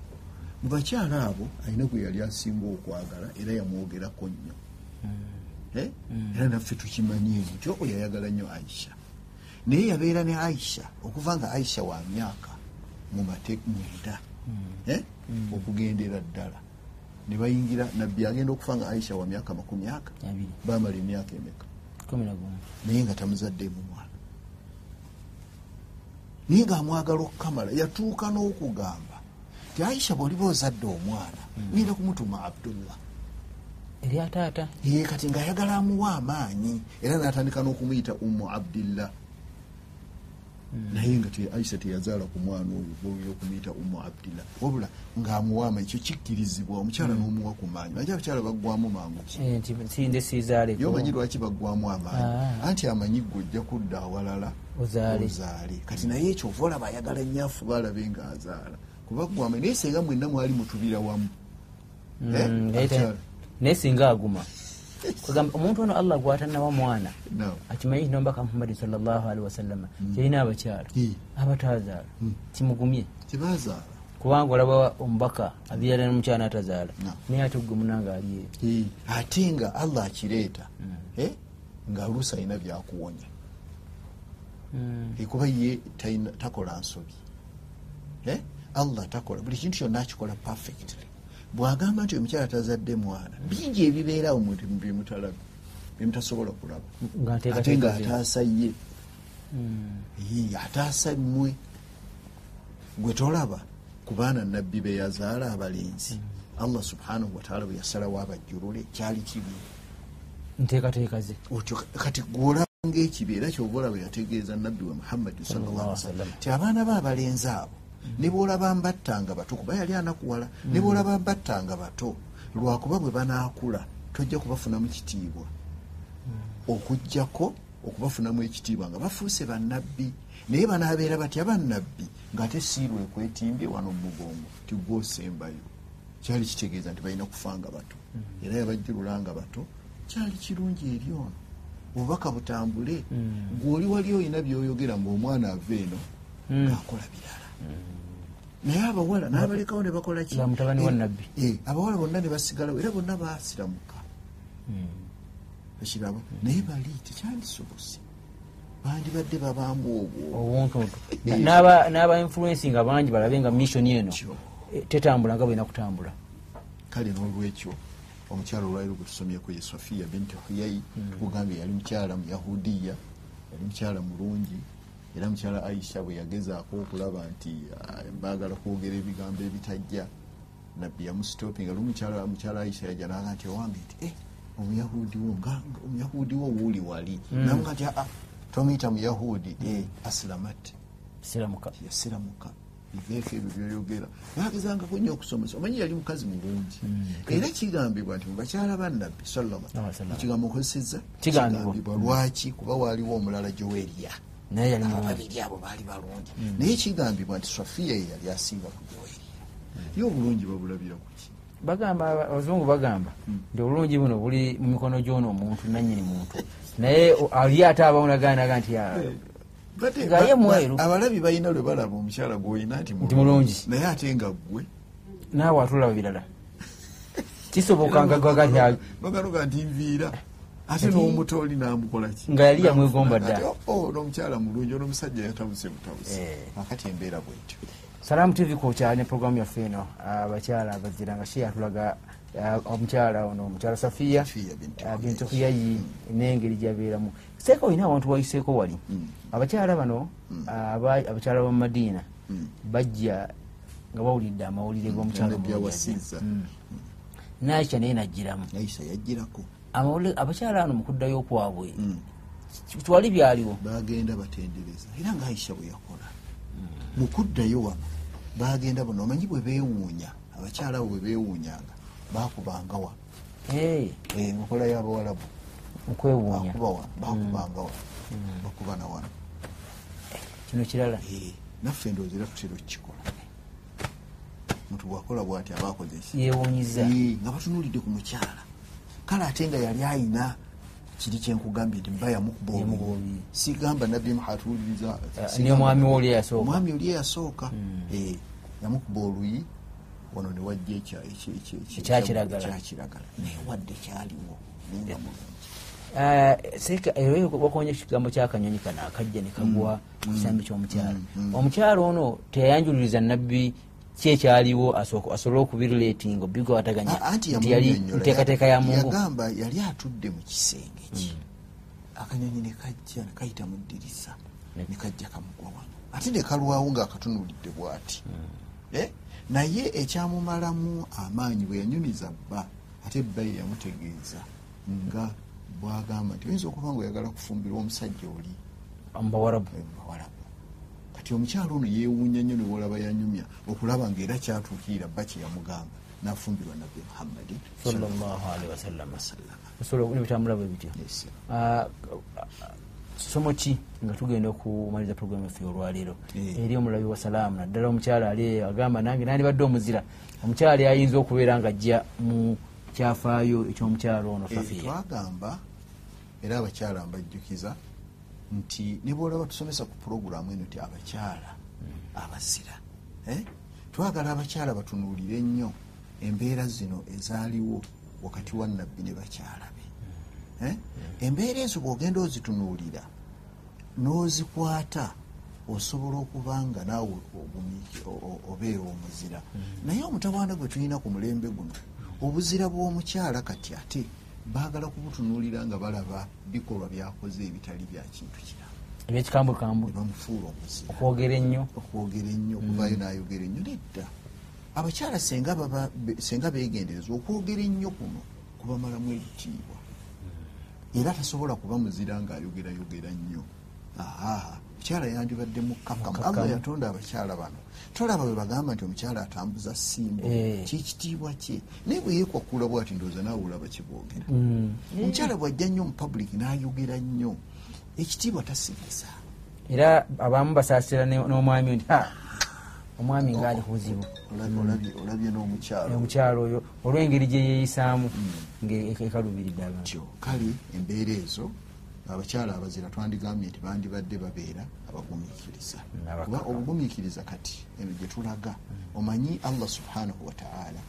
B: mu bakyala abo alina gwe yali asinga okwagala era yamwogerako nnyo
A: Mm,
B: Eh? era naffe tukimanyi ekyo oyo yayagala nnyo aisha naye yabeera ne aisha okuva nga aisha wa myaka mu mate mwenda
A: mm.
B: Eh? okugendera ddala ne bayingira nabbi agenda okufa nga aisha wa myaka makumi aga
A: Abiri.
B: baamala emyaka emeka
A: kumi nagumu
B: naye nga tamuzaddeemu mwana naye ngaamwagala okukamala yatuuka n'okugamba ti aisha bwoliba ozadde omwana ngenda kumutuma abdullah
A: eri ataata
B: ye kati ng'ayagala amuwa amaanyi era n'atandika n'okumuyita ummu abdillah naye nga te aisha teyazaala ku mwana oyo boyo okumuyita ummu abdillah wabula ng'amuwa amaanyi ekyo kikkirizibwa omukyala n'omuwa ku maanyi manyi abakyala baggwamu mangu ki
A: Eh, nti sinze sizaaleko
B: yo omanyi lwaki baggwamu amaanyi
A: Ah.
B: anti amanyi gwe ojja kudda awalala
A: Ozaale.
B: ozaale kati naye ekyo ova olaba ayagala nnyafu baalabe ng'azaala kubaggwamu naye singa mwenna mwali mutubira wamu
A: Hmm,
B: Eh? Akyala.
A: Mm, naye singa aguma Kwegamba, omuntu ono allah gwatanawa mwana
B: Naam.
A: akimanyi kino mbaka muhammadi salllahualihi wasallama kyalina abakyala
B: Mm.
A: abatazaala kimugumye
B: tebazaala
A: kubanga olaba omubaka abyala nomukyala
B: Mm.
A: atazaala
B: Naam.
A: naye ate gwe munanga aliyo
B: ate nga allah akireeta Eh? ng'oluusi alina byakuwonya
A: Mm.
B: ekuba ye talina- takola nsobi Eh? allah takola buli kintu kyonna akikola perfectly bwagamba nti omukyala tazadde mwana bingi ebibeerawo mu- byemutalaba byemutasobola kulaba
A: Nga nteekateeka ze.
B: ate nga
A: Mm.
B: ataasa ye Ye, ataasa mmwe gwe tolaba ku baana nabbi be yazaala abalenzi allah subhanahu wataala bwe yasalawo abajjulule kyali kibi
A: nteekateeka ze
B: otyo kati gwolabanga ekibi era kyova olaba yategeeza nabbi we muhammadi
A: Sallallahu
B: sawasalam
A: wasallam.
B: ti abaana be abalenzi abo ne bwolaba mbattanga bato kuba yali anakuwala ne bwolaba mbattanga bato lwakuba bwe banaakula tojja kubafunamu kitiibwa okugjako okubafunamu ekitiibwa nga bafuuse bannabbi naye banaabeera batya bannabbi ng'ate siirwe ekwetimbye wano mu mugongo tigwosembayo kyali kitegeeza nti balina kufa nga bato
A: Mm.
B: era yabajjulula nga bato kyali kirungi eri ono obubaka butambule
A: Mm.
B: gw'oli wali olina by'oyogera ng'omwana ava eno
A: Mm. Hmm.
B: ng'akola birala naye abawala n'abalekawo ne bakola ki
A: Ba mutabani wa
B: Eh,
A: nnabbi.
B: eh, abawala bonna ne basigalawo era bonna baasiramuka
A: Hmm.
B: ekirabo
A: Mm.
B: naye bali tekyandisobose bandibadde babaamu
A: Oh.
B: obwo
A: obuntuntu
B: Eh.
A: N'aba- n'aba influensi nga bangi balabe nga mission eno
B: Kyo.
A: eh, tetambula nga bwena kutambula
B: kale n'olwekyo omukyala olwaliro gwe tusomyeko ye sofiya binti huyai kugambye yali mukyala muyahudiya yali mukyala mulungi era mukyala aisha bwe yagezaako okulaba nti ah, baagala kwogera ebigambo ebitajja nabbi yamusitopinga lu mukyala mukyala aisha yajalaga nti owange nti "Eh, omuyahudi wo nga- nga- omuyahudi wo wuuli wali namuga nti aa tomuyita muyahudi "Eh, asilamati
A: siramuka
B: yasiramuka biveeko ebyo byoyogera bagezangako nnyo okusomesa omanyi yali mukazi mulungi
A: Hmm.
B: era kigambibwa nti mubakyala bannabbi
A: Alaihi wasallam.
B: salama ekigambo nkozesezza
A: Kigambibwa.
B: lwaki kuba waaliwo omulala gyoweriya
A: naye yali mulungi
B: ababiri abo baali balungi
A: Hmm.
B: naye kigambibwa nti safiya ye yali asinga ku gyoweriya
A: Hmm.
B: ye obulungi babulabira kuki
A: bagamba abazungu bagamba nti obulungi buno buli mu mikono gy'ono omuntu nannyini muntu naye o- ali ate abawunaganaga nti "Ah,
B: Eh, Bate-
A: Nga ye
B: ba-
A: mweru.
B: ba- abalabi balina lwe balaba omukyala gwolina nti
A: mulungi.
B: naye ate nga ggwe
A: naawe atulaba birala kisoboka nga "Ah, gwagatya
B: bagaluga nti nviira ate
A: Kati-
B: n'omutooli namukolaki
A: Nga yali yamwegomba dda.
B: nomukyala mulungi onomusajja yatabuse butabuse
A: Eh.
B: akati embeera bwetyo
A: salaamu tv kwokyala ne puroguramu yaffe eno ah, abakyala abazira nga she yatulaga ah, omukyala ono omukyala safiya
B: Safiya bintu
A: ah,
B: Huyayi.
A: bintu huyayi n'engeri gyabeeramu seeka olina awantu wayiseeko wali
B: Mm,
A: abakyala bano aba- abakyala ba madiina
B: mm.
A: bajja nga bawulidde amawulire g'omukyala
B: Nabbi
A: omulungi ajja.
B: awasizza
A: naisha naye najjiramu
B: aisha yajjirako
A: amawulire abakyala ano mu kuddayo kwabwe twali byaliwo
B: bagenda batendereza era nga aisha bwe yakola
A: Mm.
B: mu kuddayo wano bagenda bano omanyi bwe beewuunya abakyala abo bwe beewuunyanga bakubanga wano
A: Eh,
B: Eh, enkola y'abawalabu
A: okwewuunya
B: bakuba wano bakubanga wano
A: Mm.
B: bakuba na wano
A: kino kirala
B: Eh, naffe ndowooza era tutera okukikola muntu bwakola bwati aba akoze ki
A: yeewuunyiza
B: Eh, nga batunulidde ku mukyala kale ate nga yali ayina kiri kyenkugambye nti mba yamukuba
A: Yamukuba
B: obubi
A: obubi.
B: sigamba nabbi muhatuuliriza
A: Eh, n'omwami we oli eyasooka. Hmm.
B: omwami oli eyasooka Eh, yamukuba oluyi wano newajja ekya- ekya- ekya- ekya-
A: Ekyakiragala.
B: ekyakiragala naye wadde kyaliwo naye nga mulungi
A: Eh, bakonya ekigambo kyakanyonyi kano akajja ne
B: Mm.
A: kagwa ku kisambi ky'omukyala omukyala ono teyayanjuliriza nabbi ki ekyaliwo aso- asobole okubiriletinga obikwataganya
B: A- anti
A: nti yali
B: yamunnyonnyola.
A: nteekateeka ya mungu
B: yagamba yali atudde mu kisenge ki
A: Hmm.
B: akanyonyi ne kajja ne kayita mu ddirisa ne kajja kamugwa wano ate ne kalwawo ng'akatunulidde bw'ati
A: Hmm.
B: Eh? naye ekyamumalamu amaanyi bwe yanyumiza bba ate bba ye yamutegeeza nga bwagamba nti oyinza okuba nga oyagala kufumbirwa omusajja oli
A: omubawarabu
B: mubawalabu kati omukyala ono yeewuunya nnyo newolaba yanyumya okulaba ngaera kyatuukirira bba kye yamugamba n'afumbirwa nabbi muhammadi
A: sallallahu alaihi wasallam
B: wasallama
A: osobola nebitambula bwe bityo Ah, somo ki nga tugenda okumaliriza puroguramu yaffe olwaleero
B: Eh.
A: eri omulabi wa salaamu naddala omukyala ali agamba nange nandibadde omuzira omukyala ayinza okubeera nga ajja mu kyafaayo ekyomukyala ono
B: Eh,
A: safiya
B: twagamba era abakyala mbajjukiza nti ne bwolaba tusomesa ku pulogulaamu eno nti abakyala
A: Hmm.
B: abazira eh? twagala abakyala batunuulire ennyo embeera zino ezaaliwo wakati wa nabbi ne bakyala be
A: Hmm.
B: Eh? embeera ezo bwogenda ozitunuulira n'ozikwata osobola okuba nga naawe ogumi- o- o- obeera omuzira naye omutawaana gwe tulina ku mulembe guno obuzira bw'omukyala kati ate baagala kubutunuulira nga balaba bikolwa byakoze ebitali bya kintu kiramu
A: ebyekikambulukambulu
B: ne bamufuula omuzira
A: okwogera ennyo
B: okwogera ennyo okuvaayo n'ayogera ennyo nedda abakyala senga baba- be- senga beegendereza okwogera ennyo kuno kubamalamu ebitiibwa era tasobola kuba muzira ng'ayogerayogera nnyo aa mukyala yandibadde mukkakkamu allah
A: Mukkakkamu.
B: yatonda abakyala bano tolaba bwe bagamba nti omukyala atambuza simbo
A: Eh.
B: kyekitiibwa kye naye bwe yeekwakula bwati ndowooza naawe olaba kyebwogera
A: Mm.
B: omukyala bw'ajja nnyo mu public n'ayogera nnyo ekitiibwa tasigisa
A: era abamu basaasira ne- n'omwami nti "Ha, omwami ngaali kuzibu
B: Olabye- olabye- olabye
A: Eh,
B: n'omukyala
A: omukyalo oyo olw'engeri gye yeeyisaamu e- ngaekalubiridde abantu
B: Hmm. kyo kale embeera ezo abakyala abazira twandigambye nti bandibadde babeera abagumiikiriza
A: Abakakamu.
B: kuba obugumiikiriza kati eno gye tulaga omanyi allah subhanahu wataala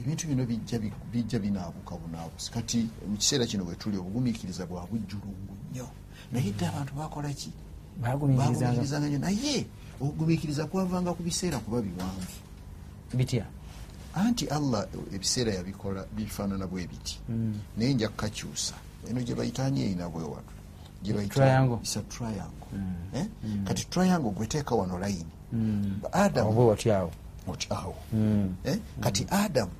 B: ebintu bino bijja bi- bijja binaabuka bunaabusi kati mu kiseera kino wetuli obugumiikiriza bwa bujjulungu nnyo naye dde abantu bakola ki
A: bagumiikirizanga
B: bagumiikirizanga nnyo naye obugumiikiriza kwavanga ku biseera kuba biwanvu
A: bitya
B: anti allah ebiseera yabikola bifaanana bwe biti
A: Hmm.
B: naye nja kukakyusa eno gye bayitanye erina bwewatu Gye bayita-
A: Triangle. Hmm.
B: is a triangle. Eh? kati triangle gweteeka wano layini adamu
A: obwe Hmm. wati Hmm. awo
B: oti awo Eh? kati adamu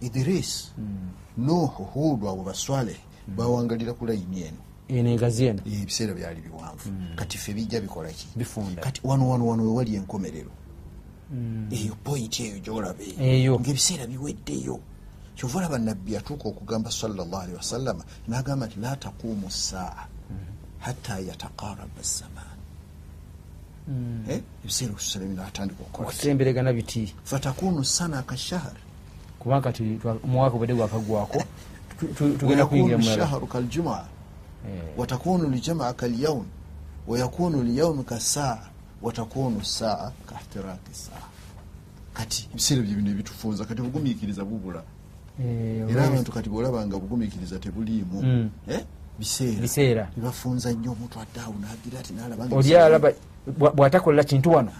B: idris
A: Hmm.
B: noho hudu abo baswale bawangalira ku layini eno
A: eno egazi eno
B: ebiseera byali biwanvu
A: Hmm.
B: kati ffe bijja bikolaki
A: Bifunda.
B: Eh. kati wano wano wano wewali enkomerero eyo pointi eyo gyolaba
A: Mm. Eyo.
B: ngaebiseera biweddeyo kyova olaba nabbi yatuuka okugamba salllah alihi wasallama n'agamba nti la taquumu saa
A: Mm.
B: hatta yataqaraba zaman
A: Mm.
B: Eh, ebiseera okususala binatandika okukola
A: okusemberegana biti
B: fatakunu sana kashahari
A: kuba kati twa- omwaka obwedde gwakagwako tu- tu- tugenda kuyingira mulala
B: shaharu kaljumaa
A: Eh,
B: watakunu ljamaa kalyaum wayakunu lyaumu kasaa watakunu saa kahtiraki saa kati ebiseera bye bino ebitufunza kati bugumiikiriza bubula
A: eh, olw'ebyo.
B: era abantu kati bwolaba nga bugumiikiriza tebuliimu eh,
A: Mm. Biseera.
B: biseera bibafunza nnyo omuntu adde awo nagira ati nalaba nga
A: oli
B: ebiseera-
A: alaba bwa- bw'atakolera kintu wano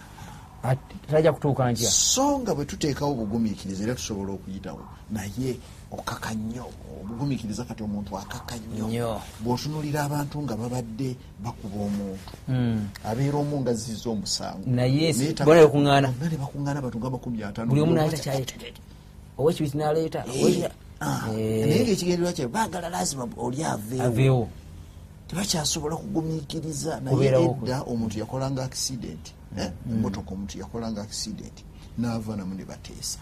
A: at- tajja kutuuka ntya
B: so nga bwe tuteekawo obugumiikiriza era tusobola okuyitawo naye okaka nnyo obugumiikiriza kati omuntu akaka
A: Nnyo.
B: nnyo bw'otunulira abantu nga babadde bakuba omuntu abeera omu nga zizza omusango
A: Mm. Naye si-
B: taka-
A: bona bekuŋŋaana.
B: Bonna ne bakuŋŋaana abantu nga makumi atano
A: buli omu
B: Buli
A: naleeta kyaleeta owekibiti naleeta Eh,
B: Eh, ah, Eh. naye ngaekigenderwa kyabwe baagala lazima oli aveewo
A: aveewo
B: tebakyasobola kugumiikiriza naye
A: Kubeerawo
B: edda omuntu yakolanga accident eh, emotoka omuntu yakolanga accident n'ava namu ne bateesa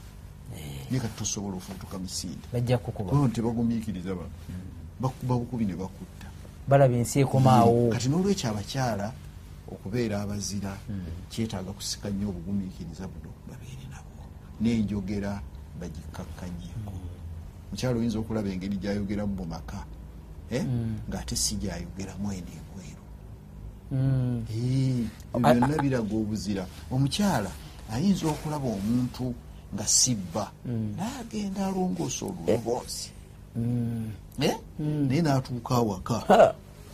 B: naye kati tosobola ofutuka misinde
A: bajja kukuba
B: ono tebagumiikiriza bano bakuba bukubi ne bakutta Mm.
A: balaba ensi ekomaawo
B: kati n'olwekyo abakyala okubeera abazira kyetaaga kusika nnyo obugumiikiriza buno babeere nabwo n'enjogera bagikakkanyeeko mukyala oyinza okulaba engeri gyayogeramu mu maka eh, ng'ate si gyayogeramu eno ebweru
A: Mm.
B: Eh,
A: A-
B: byonna biraga obuzira omukyala ayinza okulaba omuntu nga sibba
A: Hmm.
B: naagenda alongoosa oluloboozi
A: Hmm.
B: Eh? naye n'atuuka awaka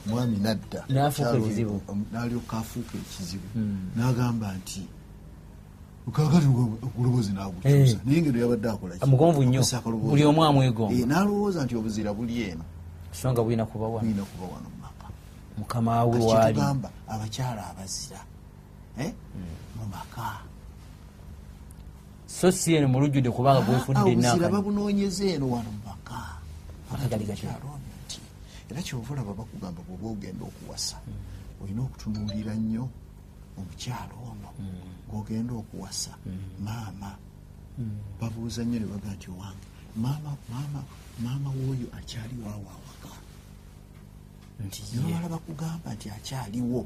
B: mwami nadda
A: N'afuuka
B: Mukyala oyo,
A: ekizibu. Hmm.
B: omu- n'alyoka afuuka ekizibu n'agamba nti kakati okuloboozi nagukyusa
A: Eh.
B: naye ngeno yabadde akola ki?
A: Mugonvu nnyo.
B: Akozesa akaloboozi.
A: Buli omu amwegomba.
B: Eh, n'alowooza nti obuzira buli eno
A: so nga bulina kuba wano
B: bulina kuba wano mu maka
A: mukama we waali
B: kyetugamba abakyala abazira eh, mu maka
A: so si eno mulujjudde kubanga
B: Ah,
A: gwefunidde
B: obuzira
A: nankani
B: babunoonyeza eno wano mu maka
A: Akagali gatya?
B: Kyalonda nti, era kyovulaba bakugamba bwoba ogenda okuwasa olina okutunuulira nnyo omukyalo ono gwogenda okuwasa maama Hmm. babuuza nnyo ne baga nti owange maama maama maama woyo akyali waawo awaka
A: nti ye
B: nolala bakugamba nti akyaliwo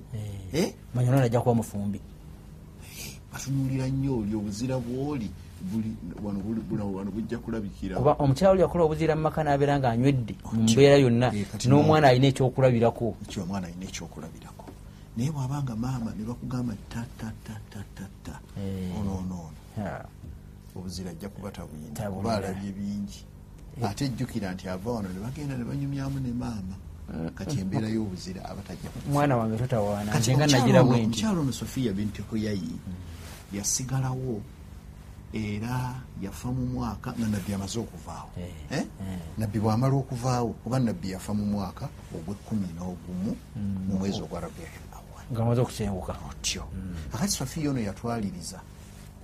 B: Eh?
A: manya nona ajja kuba mufumbi
B: batunulira nnyo oli obuzira bwoli buli wano buli- bulawo wano bujja kulabikira
A: kuba omukyalo yakola obuzira mu maka n'abeera ng'anywedde mu mbeera yonna
B: Eh, kati
A: n'omwana alina ekyokulabirako
B: ekyo omwana alina ekyokulabirako naye bwabanga maama ne bakugamba tatatatatata
A: Eh.
B: onoono ono
A: Ah,
B: obuzira ajja kuba tabuyina
A: Tabulina.
B: oba alabye bingi ate ejjukira nti ava wano ne bagenda ne banyumyamu ne maama
A: Eh.
B: kati embeera y'obuzira abatajja ku
A: mwana wange totawaana
B: kati
A: njenga
B: omukyala
A: nagira
B: ono-
A: bwe nti
B: omukyala ono sofiya bintu koyayi yasigalawo era yafa mu mwaka nga nabbi amaze okuvaawo
A: Eh,
B: Eh? nabbi bwamala okuvaawo kuba nabbi yafa mu mwaka ogwekumi n'ogumu mu mwezi ogwa rabiul awal
A: nga maze okusenguka
B: otyo Mm. akati sofiya ono yatwaliriza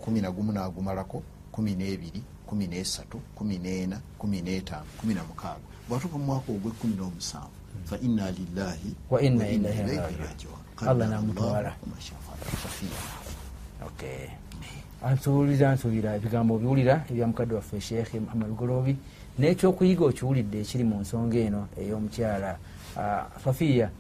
B: kumi nagumu nagumalako kumi n'ebiri kumi n'esatu kumi n'ena kumi n'etaano kumi na mukaaga bwatuka mu mwaka ogwekumi n'omusanvu fa inna lillahi
A: Mm. Wa inna ilaihi raji'un.
B: rajiun
A: Allah namutwala.
B: sofiya
A: Okay. ansuubiza nsuubira ebigambo obiwulira ebya mukadde waffe sheekhe muhamad golobi n'ekyokuyiga okiwulidde ekiri mu nsonga eno ey'omukyala ah, safiya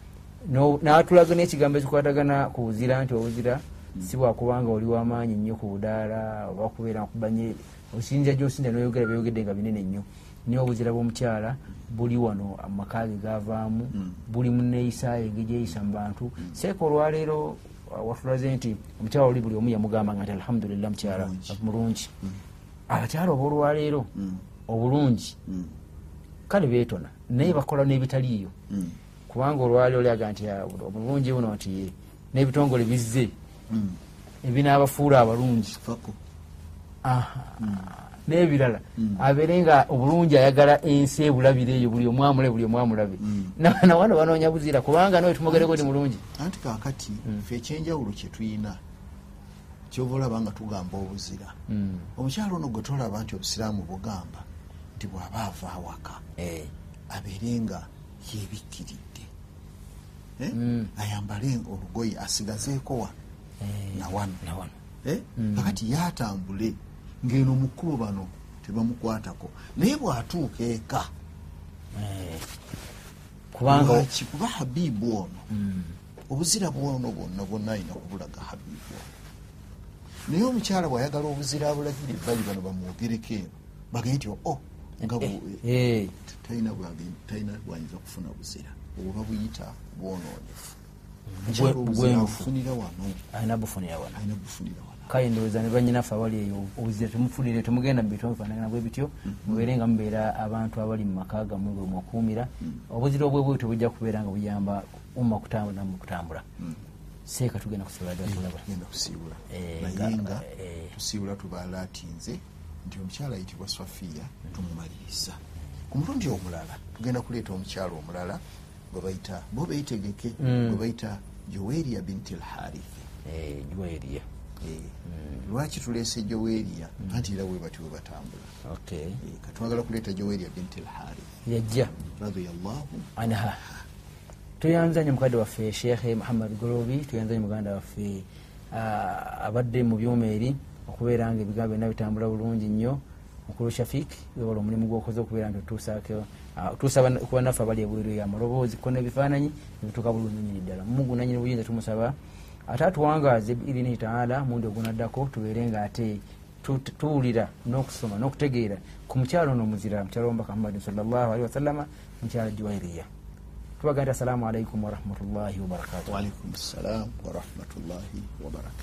A: No- n'atulaga n'ekigambo ekikwatagana ku buzira nti obuzira si bwakubanga oli w'amaanyi nnyo ku budaala oba kubeera kubanye osinza gyosinza noyogera byogedde nga binene nnyo naye obuzira bw'omukyala buli wano amakaage gavaamu buli muneeyisa engeri gyeyisa mu bantu seeka olwaleero watulaze nti omukyala oli buli omu yamugamba nga nti alhamdulillah mukyala mulungi Mm. abakyala oba olwaleero
B: Mm,
A: obulungi kale beetona naye bakola n'ebitaliiyo
B: mm,
A: kubanga olwaleero lyaga nti ah, obulungi buno nti n'ebitongole bizze ebinaabafuula abalungi
B: mm. fako
A: Aha. Mm. n'ebirala abeere nga obulungi ayagala ensi ebulabire eyo buli omwamule buli omwamulabe nawano banoonya buzira kubanga nawe tumugereko ti mulungi
B: anti kaakati
A: Mm.
B: ffe ekyenjawulo kye tulina kyova olaba nga tugamba obuzira
A: Mm.
B: omukyala ono gwe tolaba nti obusiraamu bugamba nti bw'aba ava awaka
A: Eh.
B: abeere nga yebikkiridde Eh?
A: Mm.
B: ayambale olugoye asigazeeko wa nawano
A: nawano
B: Eh?
A: Mm.
B: kakati yatambule ng'eno mu kkubo bano tebamukwatako naye bw'atuuka eka
A: kubanga Mm.
B: lwaki kuba habibu ono obuzira bwono bwonna bwonna alina kubulaga habibu ono naye omukyala bw'ayagala obuzira abulagire ebbali bano bamwogereko eno bagee nti o nga bwe-
A: Eh,
B: talina bwage- talina bwayinza kufuna buzira oba buyita bwononefu
A: bwe-
B: obufunira wano
A: alina bufunira wano
B: alina bufunira wano
A: kale ndowooza ne banyinaffe abali eyo obuzira temufunire temugenda mu bintu bifaanagana bwe bityo mubeere nga mubeera abantu abali mu maka gammwe bwe mwakuumira obuzira obwebweyo tebujja kubeera nga buyamba umma kutambula mu kutambula seeka tugenda kusobola ddala kulaba
B: genda kusiibula
A: Eh,
B: naye
A: nga-
B: nga
A: eh.
B: tusiibula tubaalaatinze nti omukyala ayitibwa swafiya
A: Hmm.
B: tumumaliriza ku mulundi omulala tugenda kuleeta omukyala omulala gwe bayita bo beyitegeke
A: Hmm.
B: gwe bayita joweria binti lharithi
A: juba eriya Hmm.
B: lwaki tuleese joweria anti era we bati we batambula
A: okay
B: Eh, katwagala kuleeta joweria binti lharithi
A: yajja
B: radiyallahu
A: anha tweyanzanye mukadde waffe sheekhe muhammad golobi tweyanzanye muganda waffe ah, abadde mu byuma eri okubeera nga ebigambo byonna bitambula bulungi nnyo mukulu shafik webala omulimu gwokoze okubeera nti otuusaako, ah, otuusa bana- ku bannaffe abali e ebweru yamaloboozi ko n'ebifaananyi ebituuka bulungi nyini ddala mugu nanyini buyinza tumusaba ate atuwangaaze biidinihi taala mundi ogunaddako tubeere nga ate tu- tuwulira n'okusoma n'okutegeera ku mukyalo ono omuzira mukyalo womubaka muhammadin salllah alihi wasallama mukyalo juwairiya tubagaa nti assalamu alaikum warahmatullahi wabarakatuh
B: walaikum ssalam warahmatullahi wabarakatu